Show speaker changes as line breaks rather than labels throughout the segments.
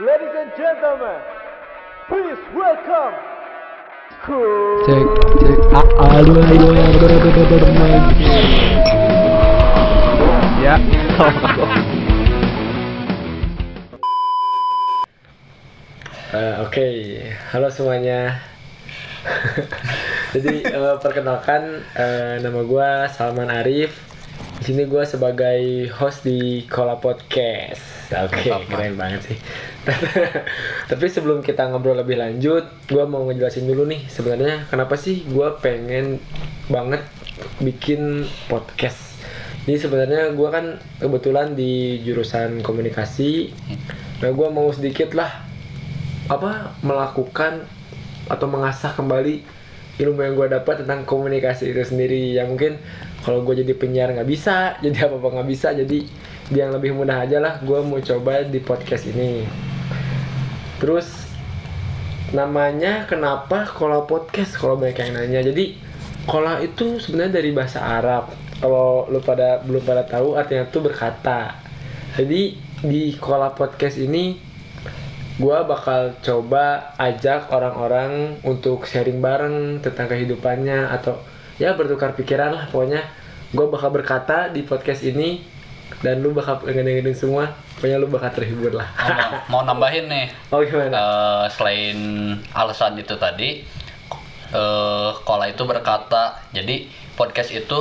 Ladies and gentlemen, please welcome Cool.
cek cek A- aduh aduh aduh aduh aduh aduh aduh.
Ya.
Eh, Oke, halo semuanya. Jadi eh, perkenalkan eh, nama gua Salman Arif. Di sini gua sebagai host di Kola Podcast. Oke, keren banget sih. Tapi sebelum kita ngobrol lebih lanjut, gua mau ngejelasin dulu nih sebenarnya kenapa sih gua pengen banget bikin podcast. Jadi sebenarnya gua kan kebetulan di jurusan komunikasi. Nah, gua mau sedikit lah apa melakukan atau mengasah kembali ilmu yang gue dapat tentang komunikasi itu sendiri yang mungkin kalau gue jadi penyiar nggak bisa jadi apa apa nggak bisa jadi yang lebih mudah aja lah gue mau coba di podcast ini terus namanya kenapa kola podcast kalau banyak yang nanya jadi kola itu sebenarnya dari bahasa Arab kalau lu pada belum pada tahu artinya itu berkata jadi di kola podcast ini gua bakal coba ajak orang-orang untuk sharing bareng tentang kehidupannya atau ya bertukar pikiran lah pokoknya gua bakal berkata di podcast ini dan lu bakal ngedengerin semua pokoknya lu bakal terhibur lah
Oh, mau, mau nambahin nih
oh gimana
Eh, selain alasan itu tadi eh kola itu berkata jadi podcast itu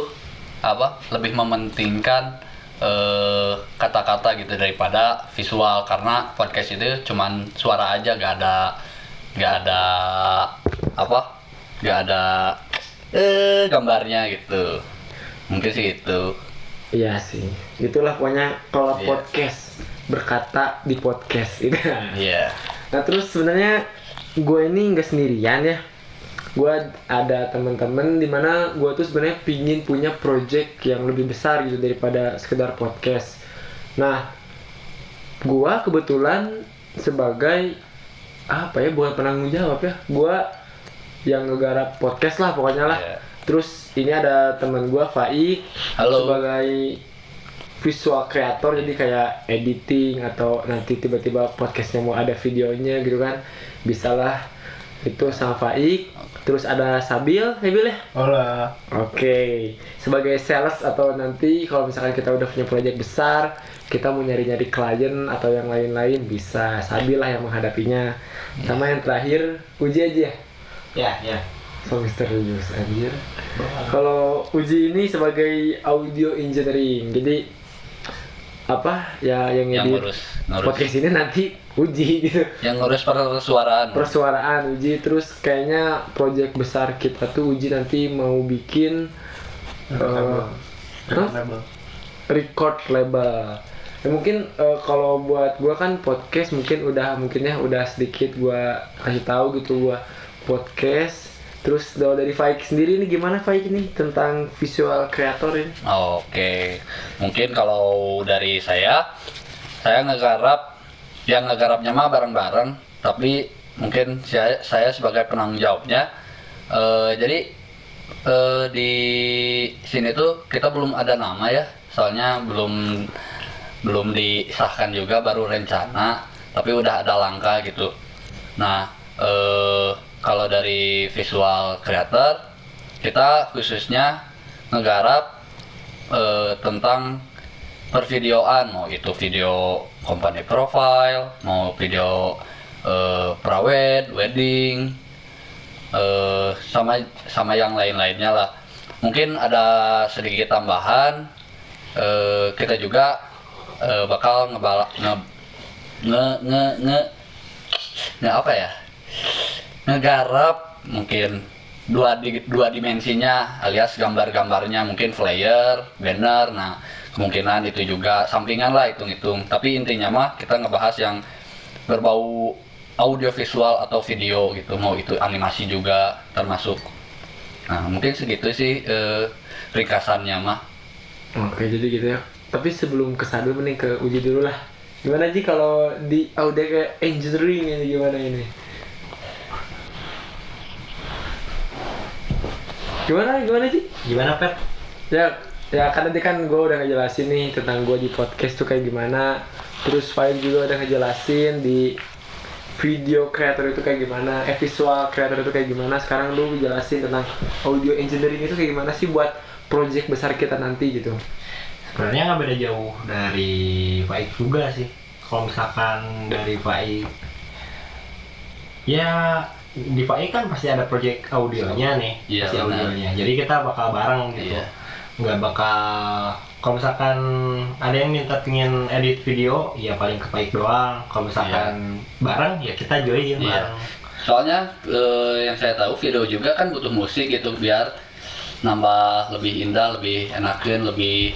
apa lebih mementingkan eh, kata-kata gitu daripada visual karena podcast itu cuman suara aja gak ada gak ada apa gak ada eh gambarnya gitu mungkin sih itu
iya sih itulah pokoknya kalau
Iya.
podcast berkata di podcast itu
iya
Nah terus sebenarnya gue ini nggak sendirian ya. Gue ada teman-teman dimana gue tuh sebenarnya pingin punya project yang lebih besar gitu daripada sekedar podcast. Nah gue kebetulan sebagai apa ya bukan penanggung jawab ya. Gue yang ngegarap podcast lah pokoknya lah.
Iya.
Terus ini ada teman gue Faik
Halo.
sebagai visual creator jadi kayak editing atau nanti tiba-tiba podcastnya mau ada videonya gitu kan bisalah itu sama Faik terus ada Sabil Sabil ya
Hola.
oke sebagai sales atau nanti kalau misalkan kita udah punya proyek besar kita mau nyari-nyari klien atau yang lain-lain bisa Sabil lah yang menghadapinya sama yang terakhir Uji aja ya?
Ya, ya.
so misterius Oh, anjir kalau uji ini sebagai audio engineering jadi apa ya yang,
yang
edit
ngurus ngurus
podcast ini nanti uji gitu
yang ngurus persuaraan
persuaraan uji terus kayaknya project besar kita tuh uji nanti mau bikin eh, Hah? record label Ya, mungkin eh, kalau buat gua kan podcast mungkin udah mungkin ya udah sedikit gua kasih tahu gitu gua podcast terus kalau dari Faik sendiri ini gimana Faik ini tentang visual creator ini
Oke, mungkin kalau dari saya, saya ngegarap, yang ngegarapnya mah bareng-bareng, tapi mungkin saya, saya sebagai penanggung jawabnya, eh, jadi eh, di sini tuh kita belum ada nama ya, soalnya belum belum disahkan juga, baru rencana, tapi udah ada langkah gitu. Nah, eh, kalau dari visual creator, kita khususnya ngegarap eh, tentang pervideoan mau itu video company profile mau video eh, prawed wedding eh, sama sama yang lain-lainnya lah mungkin ada sedikit tambahan eh, kita juga eh, bakal ngebala nge nge nge nge, nge- apa ya ngegarap mungkin dua di- dua dimensinya alias gambar-gambarnya mungkin flyer, banner. Nah, kemungkinan itu juga sampingan lah hitung-hitung. Tapi intinya mah kita ngebahas yang berbau audiovisual atau video gitu. Mau itu animasi juga termasuk. Nah, mungkin segitu sih eh, ringkasannya mah.
oke jadi gitu ya tapi sebelum ke Sadul mending ke uji dulu lah gimana sih kalau di audio engineering ini gimana ini gimana gimana sih
Gimana, Pet?
kan ya ya karena tadi kan gue udah ngejelasin nih tentang gue di podcast tuh kayak gimana terus Fahim juga udah ngejelasin di video creator itu kayak gimana, eh visual creator itu kayak gimana. Sekarang lu jelasin tentang audio engineering itu kayak gimana sih buat project besar kita nanti gitu.
sebenarnya nggak beda jauh dari Faik juga sih kalau misalkan dari Faik ya di Faik kan pasti ada project audionya nih
Iya,
pasti
benar.
audionya jadi kita bakal bareng gitu
Iya.
nggak bakal kalau misalkan ada yang minta pengen edit video ya paling ke Faik doang kalau misalkan bareng ya kita
Iya.
join bareng
Soalnya eh, yang saya tahu video juga kan butuh musik gitu biar nambah lebih indah, lebih enakin, lebih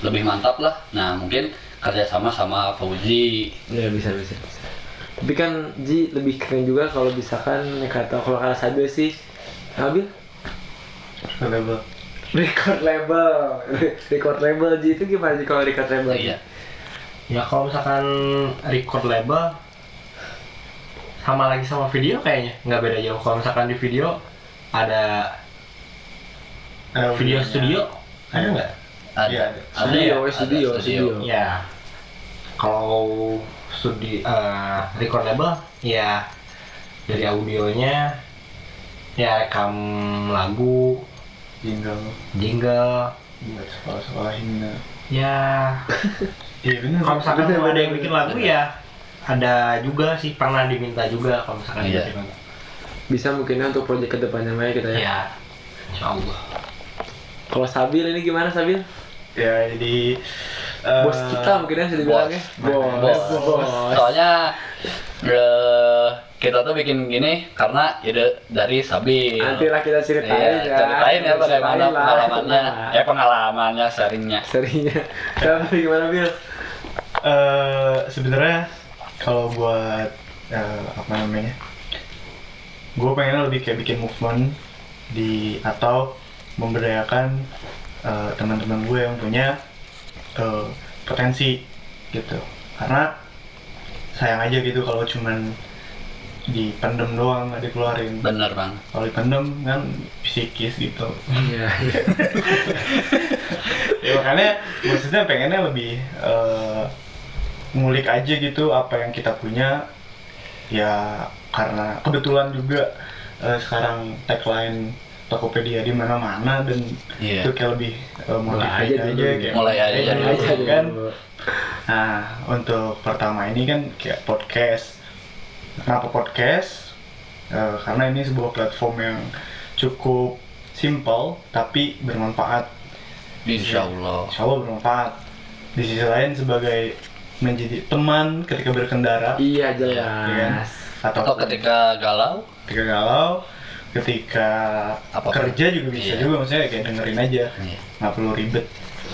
lebih mantap lah. Nah mungkin kerjasama sama Fauzi.
Ya bisa bisa. bisa. Tapi kan Ji lebih keren juga kalau misalkan kata kalau kata Sabil sih, Nabil record label, record label Ji itu gimana Ji kalau record label?
Iya.
ya kalau misalkan record label sama lagi sama video kayaknya nggak beda jauh kalau misalkan di video ada video studio ada nggak
Ada.
Iya, ada.
Studio,
Ada ya? Ada
studio, studio.
ya kalau studi eh, record label ya dari audionya ya rekam lagu
Jingle,
jingle
jingle sekolah-sekolah himne.
ya
Iya benar.
kalau misalkan mau ada yang bikin lagu ya ada juga sih pernah diminta juga kalau misalkan
Iya.
dibikin lagu.
Bisa mungkinnya untuk project kedepannya Maya kita ya.
Ya, insya Allah.
Kalau Sabil ini gimana Sabil?
Ya jadi eh,
Bos kita mungkin bisa dibilang ya. Bos.
Bos. Soalnya eh, kita tuh bikin gini karena ide dari Sabi.
Nanti lah kita ceritain
Iya, ceritain ya bagaimana
Ceritain lah,
pengalamannya,
tenang.
eh pengalamannya sharingnya.
Serinya. Tapi gimana Bil?
eh sebenarnya kalau buat eh, apa namanya gue pengennya lebih kayak bikin movement di atau memberdayakan eh, teman-teman gue yang punya eh, potensi gitu karena sayang aja gitu kalau cuman dipendem doang nggak dikeluarin
Bener bang.
kalau dipendem kan psikis gitu
Iya.
ya makanya maksudnya pengennya lebih eh, ngulik aja gitu apa yang kita punya ya karena kebetulan juga eh, sekarang tagline Tokopedia di mana-mana dan
Iya.
itu kayak lebih eh,
Mulai aja
motivate aja,
dulu ya.
kayak
Mulai aja
mulai
dulu.
aja kan nah untuk pertama ini kan kayak podcast kenapa podcast Eh, karena ini sebuah platform yang cukup simple tapi bermanfaat
Insya Allah.
Insya Allah bermanfaat. Di sisi lain sebagai menjadi teman ketika berkendara,
Iya
ya kan?
jelas.
atau,
Atau Oh, ketika galau,
ketika galau, ketika
Apapun.
kerja juga bisa
Iya.
juga, maksudnya kayak dengerin aja,
Iya.
nggak perlu ribet,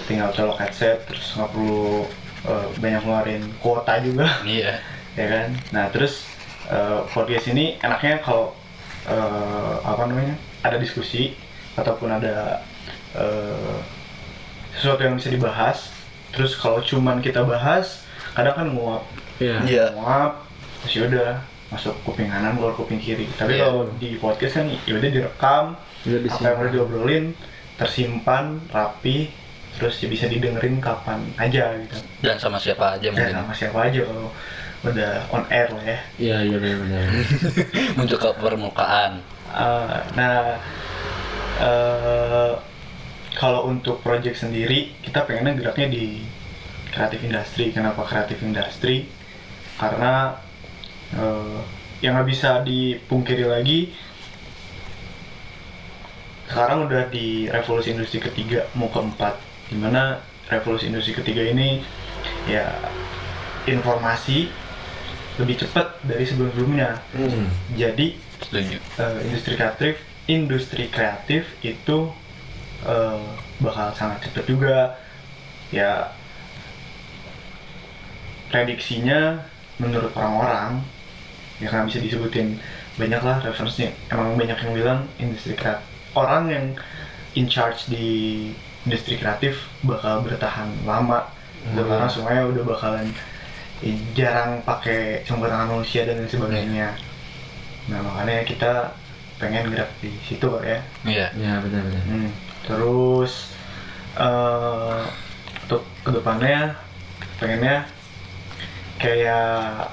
tinggal colok headset, terus nggak perlu eh, banyak ngeluarin kuota juga,
iya.
ya kan? Nah terus eh, podcast ini enaknya kalau eh, apa namanya ada diskusi ataupun ada eh, sesuatu yang bisa dibahas terus kalau cuman kita bahas kadang kan nguap
Iya.
nguap terus yaudah masuk kuping kanan keluar kuping kiri tapi
Iya.
kalau di podcast kan yaudah direkam
Bisa di
apa
sini.
yang udah diobrolin tersimpan rapi terus ya bisa didengerin kapan aja gitu
Dan sama siapa aja
ya
mungkin.
sama siapa aja kalau udah on air lah ya
Iya iya benar-benar.
Muncul ke permukaan.
Uh, nah uh, kalau untuk project sendiri kita pengennya geraknya di kreatif industri kenapa kreatif industri karena uh, yang nggak bisa dipungkiri lagi sekarang udah di revolusi industri ketiga mau keempat dimana revolusi industri ketiga ini ya informasi lebih cepat dari sebelum-sebelumnya
Hmm,
jadi
Setuju.
eh, industri kreatif industri kreatif itu eh, bakal sangat cepat juga ya prediksinya menurut orang-orang ya kan bisa disebutin banyak lah referensinya emang banyak yang bilang industri kreatif orang yang in charge di industri kreatif bakal bertahan lama Dan karena semuanya udah bakalan eh, jarang pakai sumber tangan manusia dan lain sebagainya Nah makanya kita pengen gerak di situ Pak, ya.
Iya.
Iya benar-benar.
Hmm. Terus eh untuk kedepannya pengennya kayak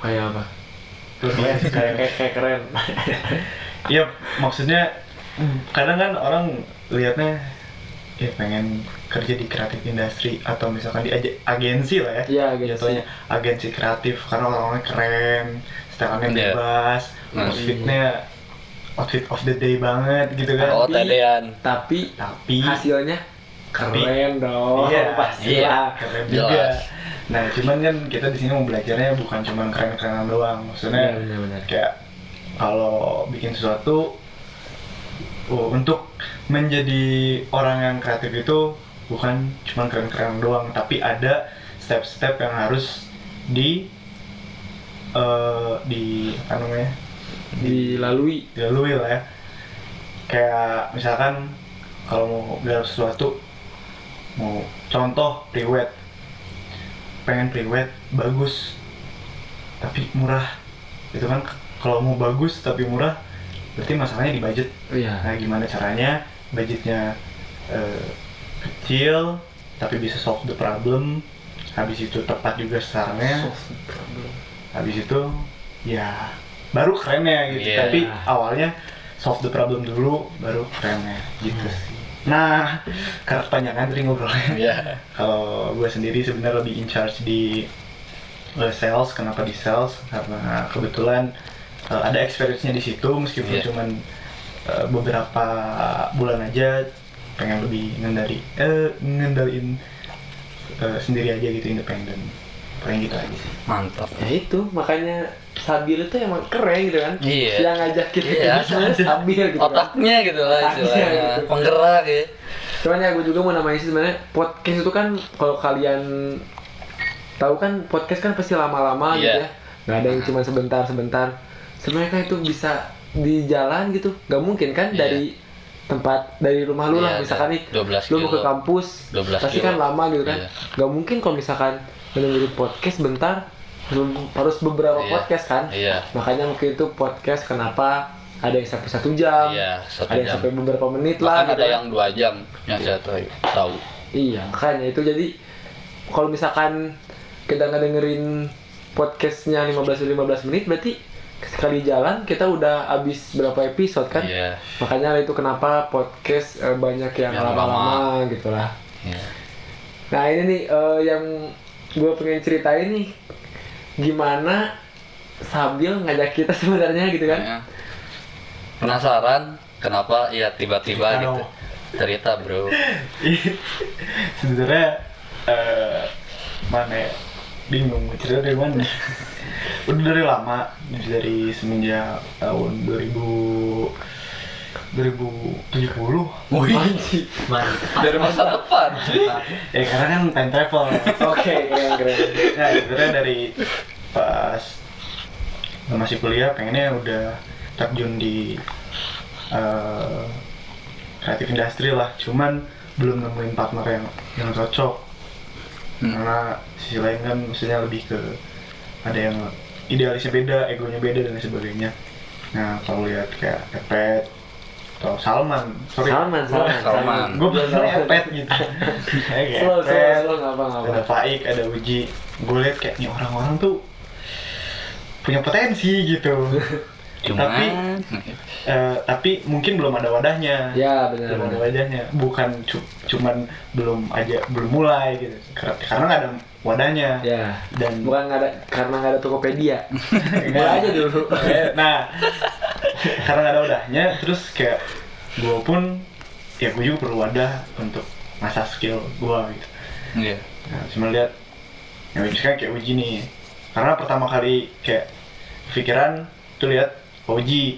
kayak apa
lebih kayak kayak, kayak keren iya maksudnya kadang kan orang lihatnya ya pengen kerja di kreatif industri atau misalkan di aj- agensi lah ya
Iya, agensi.
jatuhnya agensi kreatif karena orang-orangnya keren setelannya
Iya.
bebas
Hmm.
outfitnya outfit of the day banget gitu kan
Oh, tedean.
tapi
tapi
hasilnya
Tapi-
keren dong
Iya,
pasti
iya.
lah.
keren
Jelas.
juga nah cuman kan kita di sini mau belajarnya bukan cuma keren-kerenan doang maksudnya
Iya, benar-benar.
kayak kalau bikin sesuatu oh, untuk menjadi orang yang kreatif itu bukan cuma keren-keren doang tapi ada step-step yang harus di eh, di apa namanya
dilalui
dilalui lah ya kayak misalkan kalau mau gelar sesuatu mau contoh priwet pengen priwet bagus tapi murah itu kan k- kalau mau bagus tapi murah berarti masalahnya di budget
iya
nah gimana caranya budgetnya eh, kecil tapi bisa solve the problem habis itu tepat juga sarannya habis itu ya baru kerennya gitu
Iya.
tapi awalnya solve the problem dulu baru kerennya gitu
Hmm.
sih nah karena kepanjangan tadi ngobrolnya
Iya.
kalau gue sendiri sebenarnya lebih in charge di eh, sales kenapa di sales karena kebetulan eh, ada experience-nya di situ meskipun
Iya.
cuman eh, beberapa bulan aja pengen lebih ngendari eh ngendaliin eh, sendiri aja gitu independen paling gitu aja sih
Mantap.
ya itu makanya Sabil itu emang keren gitu kan
Iya.
yang ngajakin
Iya.
itu sebenarnya Sabil gitu kan
Otaknya gitu lah
Otaknya
istilahnya.
gitu.
Penggerak ya.
Cuman ya gue juga mau namain sih sebenarnya podcast itu kan kalau kalian tahu kan podcast kan pasti lama-lama
Iya.
gitu ya. Gak ada yang cuma sebentar-sebentar. Sebenarnya kan itu bisa di jalan gitu. Gak mungkin kan
Iya.
dari tempat dari rumah lu lah
Iya,
misalkan nih
12
lu mau ke
kilo.
kampus
12
pasti
kilo.
kan lama gitu kan
Iya.
gak mungkin kalau misalkan dengerin podcast bentar harus harus beberapa
Iya.
podcast kan
Iya.
makanya mungkin itu podcast kenapa ada yang sampai satu jam
Iya, satu
ada yang
jam.
sampai beberapa menit lah
Bahkan
gitu
ada
kan.
yang dua jam yang saya tahu. Tahu.
Iya, makanya itu jadi kalau misalkan kita ngedengerin podcastnya 15-15 menit berarti sekali jalan kita udah habis berapa episode kan?
Iya.
Makanya itu kenapa podcast eh, banyak yang
Yang
lama-lama gitu lah.
Iya.
Nah ini nih eh, yang gue pengen ceritain nih gimana Sabil ngajak kita sebenarnya gitu kan?
Ya. Penasaran kenapa ya
Cerita
tiba-tiba gitu.
dong.
Cerita, Bro.
sebenarnya eh, mana ya? bingung mau cerita dari mana udah dari lama dari semenjak tahun 2000 2070
Anjing.
Mantap.
Dari masa depan.
ya karena kan time travel
Oke, keren-keren.
nah sebenarnya dari pas masih kuliah pengennya udah terjun di eh, kreatif industri lah cuman belum nemuin partner yang yang cocok
Hmm.
karena sisi lain kan maksudnya lebih ke ada yang idealisnya beda, egonya beda dan lain sebagainya. Nah kalau lihat kayak Epet atau Salman, sorry,
Salman, Salman.
Salman.
gue bener
Salman.
Epet gitu. Kayak kayak
Slow, slow,
Epet,
slow, nggak apa-apa.
ada Faik, ada Uji. Gue lihat kayak nih orang-orang tuh punya potensi gitu. tapi
Cuman
eh, tapi mungkin belum ada wadahnya.
Ya benar
belum ada
benar.
wadahnya bukan cu- cuman belum aja belum mulai gitu Kar- karena nggak ada wadahnya
Ya.
dan
Bukan nggak ada karena nggak ada Tokopedia. Gue aja dulu.
nah karena nggak ada wadahnya terus kayak gue pun ya gue juga perlu wadah untuk masa skill gue gitu
iya.
nah, cuma lihat ya misalkan kayak uji nih karena pertama kali kayak pikiran tuh lihat oh, uji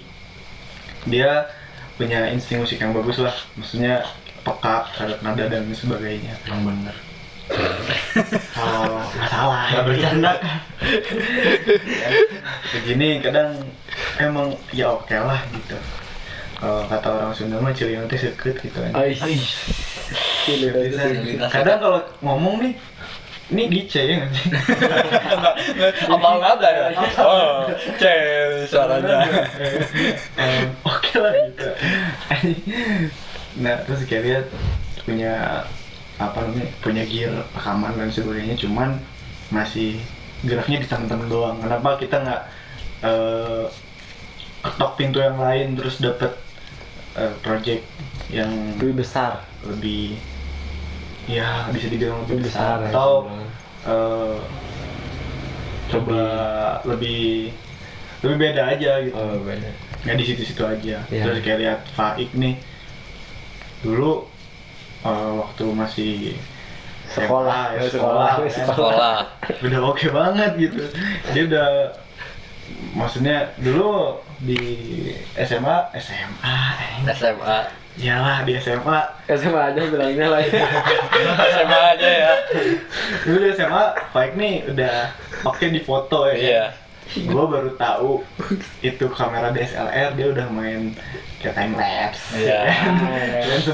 dia punya insting musik yang bagus lah maksudnya peka terhadap nada dan sebagainya
Yang bener.
kalau masalah nggak ya. bercanda begini kadang emang ya oke lah gitu kalau kata orang Sunda mah cili nanti sekut gitu kan
Ais. Gila, itu
Bisa.
sih.
Iya, kadang kalau ngomong nih ini dice ya nggak sih
Apa nggak ada ya? Oh, cewek suaranya.
Em, Eh, oke lah gitu nah terus kayak lihat punya apa namanya punya gear rekaman dan sebagainya cuman masih geraknya di tangan-tangan doang kenapa kita nggak eh, ketok pintu yang lain terus dapat eh, project yang
lebih besar
lebih ya bisa dibilang lebih
lebih
besar,
besar ya,
atau
bisa dibilang.
eh, coba lebih lebih beda aja gitu
oh benar
nggak di situ-situ aja
Iya.
terus kayak lihat Faik nih dulu eh, waktu masih SMA,
Sekolah,
ya,
sekolah,
sekolah,
ya,
kan.
sekolah
udah oke banget gitu dia udah maksudnya dulu di SMA SMA
SMA
eh, iyalah di SMA
ya sama aja bilangnya lah ya
SMA aja ya
dulu di SMA Faik nih udah oke di foto ya kan?
iya
gue baru tahu itu kamera DSLR dia udah main kayak time lapse
Iya.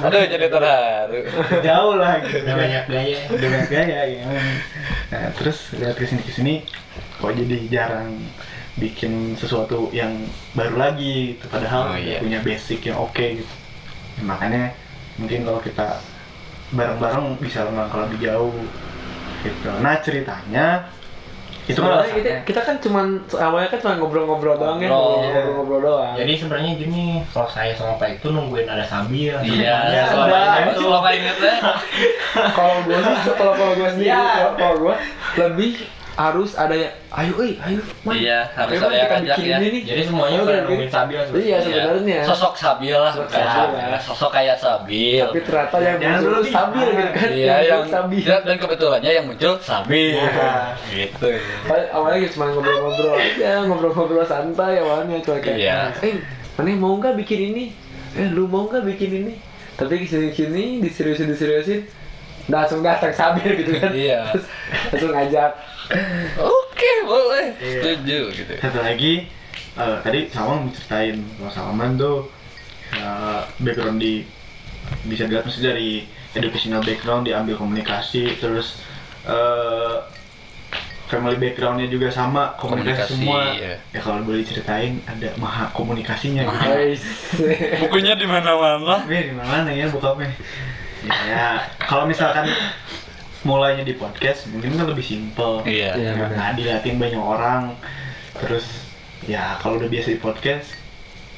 aduh jadi terharu
jauh lah gitu
Udah banyak gaya.
udah banyak gaya ya nah, terus lihat kesini kesini kok jadi jarang bikin sesuatu yang baru lagi gitu. padahal
Oh, iya.
punya basic yang oke gitu makanya mungkin kalau kita bareng-bareng bisa melangkah lebih jauh gitu nah ceritanya itu
Sebenarnya
alasannya.
kita, kita kan cuman awalnya kan cuma ngobrol-ngobrol doang ya
Ngobrol.
ngobrol-ngobrol doang
Jadi sebenarnya gini, kalau saya sama Pak itu nungguin ada Sabil.
iya
Ya,
selama
udah,
ini
itu.
selama ingetnya
kalau gue sih kalau kalau gue sendiri
Iya.
kalau- kalau gue lebih harus ada yang ayo eh ayo man
Iya, harus
Ayo, Man,
ada yang
kita
ngajak
bikin
ya.
ini nih.
Jadi semuanya udah nungguin Sabil.
iya sebenarnya
sosok sabil lah
Sosok
bukan
Sabil
Sabil.
lah.
sosok kayak sabil
tapi ternyata yang
Jangan
muncul
dulu,
stabil gitu kan
iya yang
muncul stabil
dan, dan kebetulannya yang muncul sabil
Iya.
gitu
Padahal awalnya gitu, cuma ngobrol-ngobrol aja ngobrol-ngobrol santai awalnya cuma kayak
Iya.
eh mana mau nggak bikin ini eh lu mau nggak bikin ini tapi kesini-sini diseriusin diseriusin langsung datang sabir gitu kan
Iya.
Terus langsung ngajak
oke boleh
Iya.
setuju gitu
satu lagi eh, tadi Salman ceritain kalau Salman tuh eh, background di bisa dilihat maksudnya dari educational background diambil komunikasi terus eh, family backgroundnya juga sama komunikasi,
Komunikasi,
semua
iya.
ya kalau boleh ceritain ada maha komunikasinya gitu
guys
bukunya di mana mana
Wih, di mana ya bokapnya ya, ya, kalau misalkan mulainya di podcast mungkin kan lebih simpel
iya
Nggak-
Iya. benar.
nggak nah, diliatin banyak orang terus ya kalau udah biasa di podcast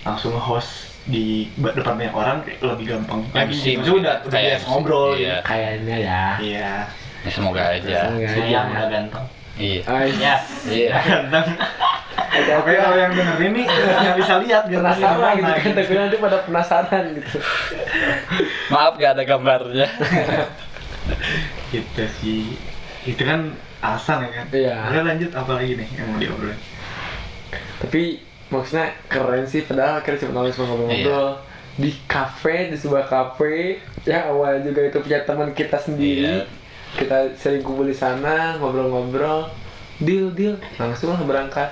langsung nge-host di ba- depan banyak orang kayak lebih gampang lagi
MC,
gitu. Maksudnya udah udah
Iya, kayak
biasa
MC,
ngobrol
iya.
gitu.
kayaknya ya
iya
Ya, semoga aja
Sayang udah ganteng.
iya
Iya.
iya
ganteng tapi kalau yang dengerin nih nggak bisa lihat gantengnya
penasaran
gimana,
gitu kan tapi nanti pada penasaran gitu
maaf gak ada gambarnya
gitu sih itu kan alasan ya kan
Iya.
Udah lanjut apa lagi nih yang mau diobrolin
tapi maksudnya keren sih padahal akhirnya cuma nulis cuma ngobrol-ngobrol di kafe di sebuah kafe yang awalnya juga itu punya teman kita sendiri
Iya.
kita sering kumpul di sana ngobrol-ngobrol deal deal langsung lah berangkat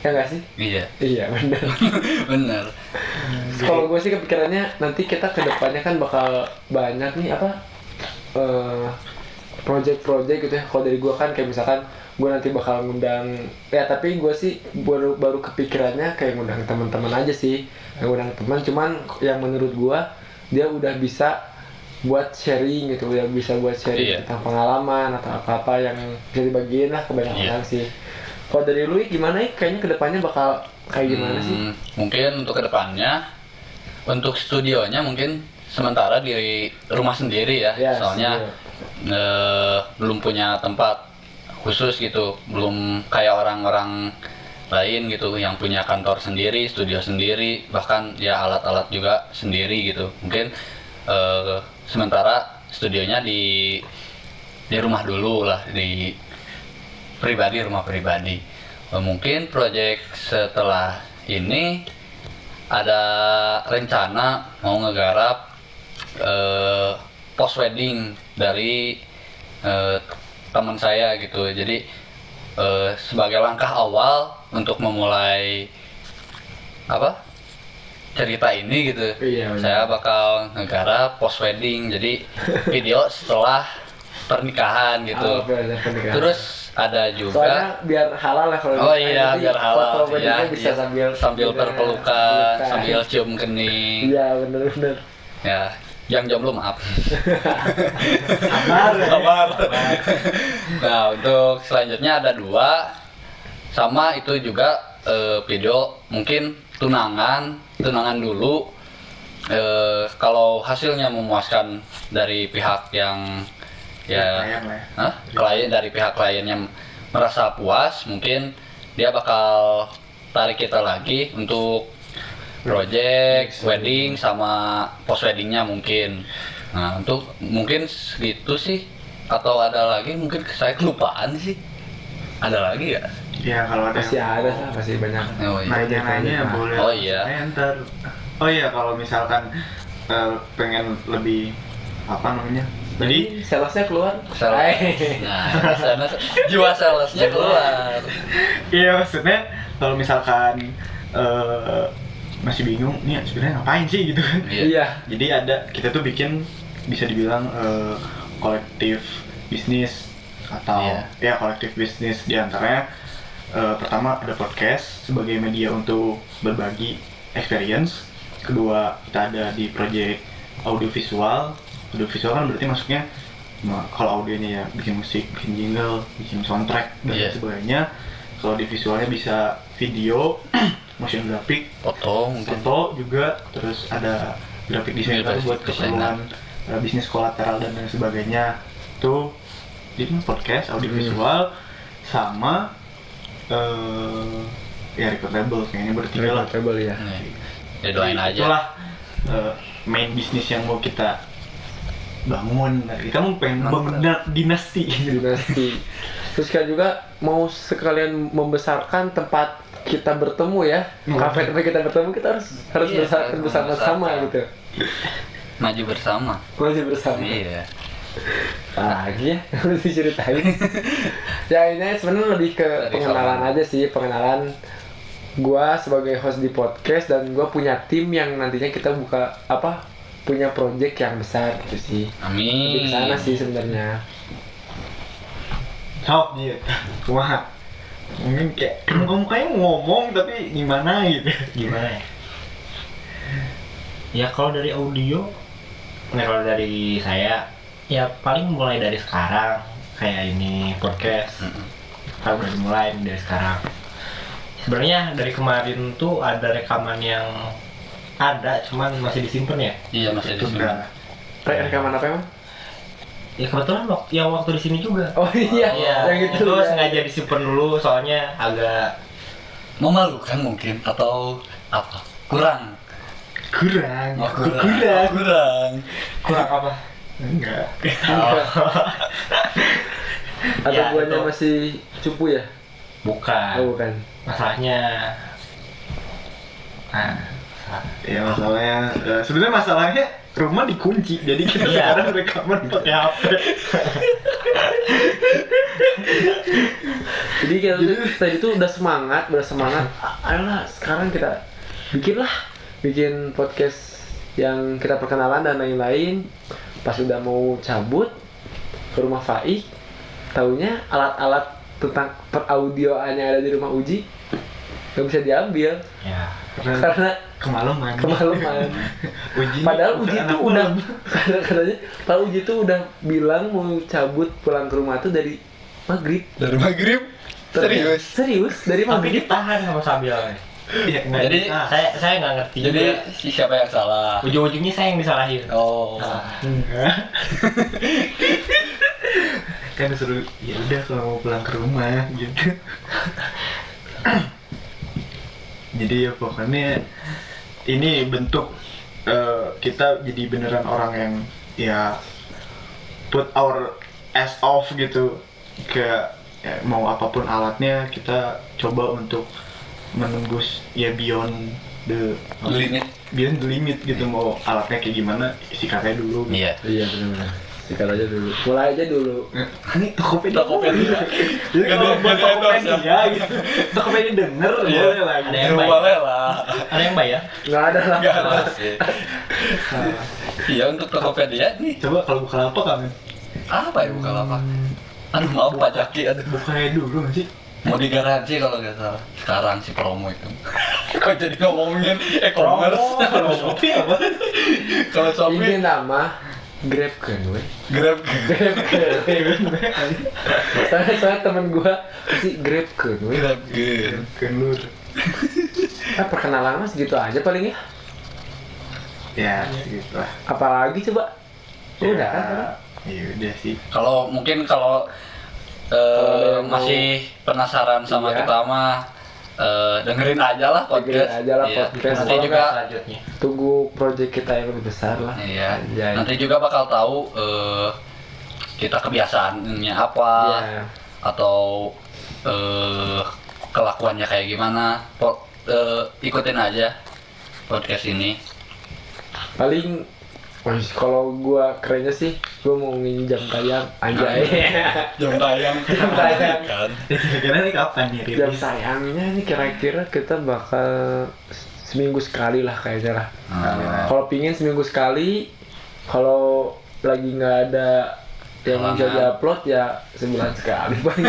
ya nggak sih
iya
iya benar
bener
kalau gue sih kepikirannya nanti kita kedepannya kan bakal banyak nih apa eh project-project gitu ya kalau dari gue kan kayak misalkan gue nanti bakal ngundang ya tapi gue sih baru baru kepikirannya kayak ngundang teman-teman aja sih yang ngundang teman cuman yang menurut gue dia udah bisa buat sharing gitu udah bisa buat sharing
Iya.
tentang pengalaman atau apa apa yang bisa dibagiin lah ke banyak
Iya.
orang sih kalau dari lu Ik, gimana ya kayaknya kedepannya bakal kayak gimana sih
Hmm, Mungkin untuk kedepannya, untuk studionya mungkin sementara di rumah sendiri ya,
Ya,
soalnya
iya.
eh, belum punya tempat khusus gitu, belum kayak orang-orang lain gitu yang punya kantor sendiri, studio sendiri, bahkan ya alat-alat juga sendiri gitu. Mungkin eh, sementara studionya di di rumah dulu lah di pribadi rumah pribadi Eh, mungkin proyek setelah ini ada rencana mau ngegarap eh, post wedding dari eh, teman saya gitu jadi eh, sebagai langkah awal untuk memulai apa cerita ini gitu
Iya, benar.
saya bakal ngegarap post wedding jadi video setelah pernikahan gitu
Apa yang pernikahan?
Terus ada juga
Soalnya biar halal lah Ya. kalau
Oh
di-
iya,
jadi
biar halal.
Foto weddingnya
Iya,
bisa
iya.
sambil
sambil
sambil
berpelukan,
pelukan.
sambil cium kening.
Iya bener bener.
Ya, yang jomblo maaf
Amar.
Sabar. nah untuk selanjutnya ada dua sama itu juga eh, video mungkin tunangan tunangan dulu Eh, kalau hasilnya memuaskan dari pihak yang ya
Klien lah ya.
Hah? klien dari pihak klien yang merasa puas mungkin dia bakal tarik kita lagi untuk project wedding sama post weddingnya mungkin nah untuk mungkin segitu sih atau ada lagi mungkin saya kelupaan sih ada lagi ya
Ya kalau ada
Pasti
yang
ada
mau
sih, pasti banyak.
oh, iya.
nanya-nanya
Nah.
boleh.
Oh, iya.
Saya ntar. Oh iya kalau misalkan eh, pengen lebih apa namanya? Jadi
salesnya keluar.
Sales.
Hai.
nah di sana jiwa salesnya keluar
iya maksudnya kalau misalkan eh, masih bingung nih sebenarnya ngapain sih gitu kan.
Iya.
Iya.
Jadi ada kita tuh bikin bisa dibilang eh, kolektif bisnis atau ya kolektif bisnis di antaranya eh, pertama ada podcast sebagai media untuk berbagi experience. Kedua kita ada di project audiovisual. Audiovisual kan berarti masuknya ma- kalau audionya ya bikin musik, bikin jingle, bikin soundtrack dan
Iya.
sebagainya. Kalau di visualnya bisa video, motion graphic,
foto mungkin
foto juga terus ada graphic designer
Graphic
buat
designer.
keperluan uh, bisnis kolateral dan lain sebagainya itu jadi kan podcast audiovisual sama eh ya recordable kayaknya bertiga lah
Relatable ya.
Nih, deadline Iya. aja
itulah eh, main bisnis yang mau kita bangun Nah, kita mau pengen bangun dinasti
Dinasti. Terus kan juga mau sekalian membesarkan tempat kita bertemu ya. Kafe tempat kita bertemu kita harus harus
Iya,
besarkan
harus
bersama-sama
membesarkan.
gitu.
maju bersama
Masih bersama.
iya
lagi ya harus diceritain ya ini sebenarnya lebih ke
Dari
pengenalan
kawan.
aja sih pengenalan gua sebagai host di podcast dan gua punya tim yang nantinya kita buka apa punya project yang besar gitu sih di
amin
sana sih sebenarnya
sok gitu wah mungkin kayak kamu kayak ngomong tapi gimana gitu
gimana ya ya kalau dari audio nah kalau dari saya ya paling mulai dari sekarang kayak ini podcast kalau udah dimulai nih dari sekarang sebenarnya dari kemarin tuh ada rekaman yang ada cuman masih disimpan ya
iya masih di sini
Nah,
Re- rekaman apa emang
ya kebetulan waktu yang waktu di sini juga
oh iya yang itu
itu
ya.
sengaja disimpan dulu soalnya agak
memalukan mungkin atau apa kurang
kurang
Oh,
kurang
kurang
kurang apa
enggak
atau
Ya,
guanya
itu. Ah.
masih cupu ya
bukan
oh bukan
masalahnya nah
Ya masalahnya eh, sebenarnya masalahnya rumah dikunci jadi kita
Iya.
sekarang rekaman pakai HP.
jadi kita tuh tadi tuh udah semangat udah semangat "A- ayolah sekarang kita bikin lah bikin podcast yang kita perkenalan dan lain-lain pas udah mau cabut ke rumah Faik taunya alat-alat tentang peraudioan yang ada di rumah Uji nggak bisa diambil
ya
Karena
karena
kemalaman.
kemalaman
Uji.
padahal Uji
anak
tuh
malam.
udah padahal katanya padahal Uji tuh udah bilang mau cabut pulang ke rumah tuh dari maghrib
dari maghrib
Ternyata- serius dari
tapi
maghrib
ditahan sama Sabil Nah,
Iya, nggak
Oh, Nah, Jadi,
bisa.
saya saya nggak ngerti
jadi
juga.
si siapa yang salah
ujung-ujungnya saya yang disalahin
oh
enggak. kan disuruh ya udah kalau mau pulang ke rumah gitu. jadi ya pokoknya ini bentuk eh, kita jadi beneran orang yang ya put our ass off gitu ke ya, mau apapun alatnya kita coba untuk menembus ya beyond the
Limit.
beyond the limit gitu mau alatnya kayak gimana sikatnya dulu gitu.
iya
Iya benar-benar. Sikat aja dulu. Mulai aja dulu.
ini Tokopedia
Iya.
Tokopedia.
jadi
Gak
kalau
ada-
buat
gak ada endorse ya.
Tokopedia gitu Tokopedia denger
Iya.
boleh lah
Ada
gitu.
yang
Iya.
baik.
boleh lah
ada yang bayar
Nggak ada lah.
Nggak lah sih. iya untuk Tokopedia nih
coba kalau buka lapak kan
apa ya bukan apa aduh maaf Pak Jaki aduh
bukannya dulu nggak sih
mau digaransi kalau nggak salah sekarang si promo itu kok jadi ngomongin e-commerce
Promo, Shopee Oh, apa?
kalau
Ini
Shopee
nama Grab kan gue.
Grab
Grab kan. soalnya, soalnya temen gue si Grab kan gue.
Grab Grab.
Kenur.
Ah, perkenalan mas gitu aja paling ya.
Ya, gitu lah.
Apalagi coba. Iya.
Iya.
Udah kan?
Ya, Iya udah sih.
kalau mungkin kalau eh,
Kalau yang
masih penasaran sama
Iya.
kita mah eh, dengerin aja lah podcast
Dengerin aja lah
Iya.
podcast.
nanti
Kalau
juga
selanjutnya.
Tunggu project kita yang lebih besar lah.
iya
Anjay.
nanti juga bakal tahu eh, kita kebiasaannya apa
Iya.
atau eh, kelakuannya kayak gimana Po- eh, ikutin aja podcast ini
paling wih, kalau gua kerennya sih gua mau nginjam tayang
Ah, iya.
ya. anjay
jam tayang
Jam tayang.
kan
Kira-kira ini kapan ya
jam
rilis?
tayangnya nih kira-kira kita bakal seminggu sekali lah kayaknya lah
Nah,
kalau pingin seminggu sekali kalau lagi nggak ada yang
Halangan.
bisa upload ya sebulan sekali bang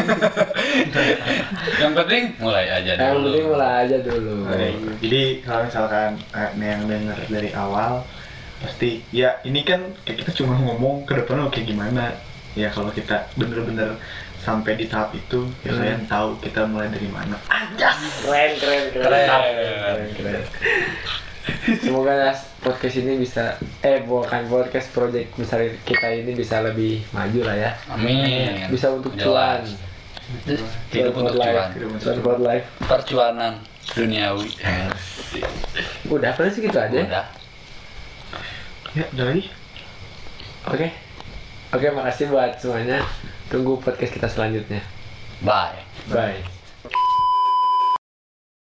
yang penting mulai aja dulu
yang penting mulai aja dulu
Oke, Iya. Jadi kalau misalkan eh, nih yang denger dari awal pasti ya ini kan kayak kita cuma ngomong ke depan mau kayak gimana ya kalau kita bener-bener sampai di tahap itu ya
Hmm.
kalian tahu kita mulai dari mana
keren keren
Keren.
keren semoga ya podcast ini bisa eh bukan podcast project besar kita ini bisa lebih maju lah ya
Amin.
bisa untuk cuan
Jelas. Hidup
buat
untuk
life
cuan.
Hidup untuk
cuan buat life
Percuanan duniawi.
udah paling segitu aja
Udah.
ya dari
oke oke makasih buat semuanya tunggu podcast kita selanjutnya
Bye.
bye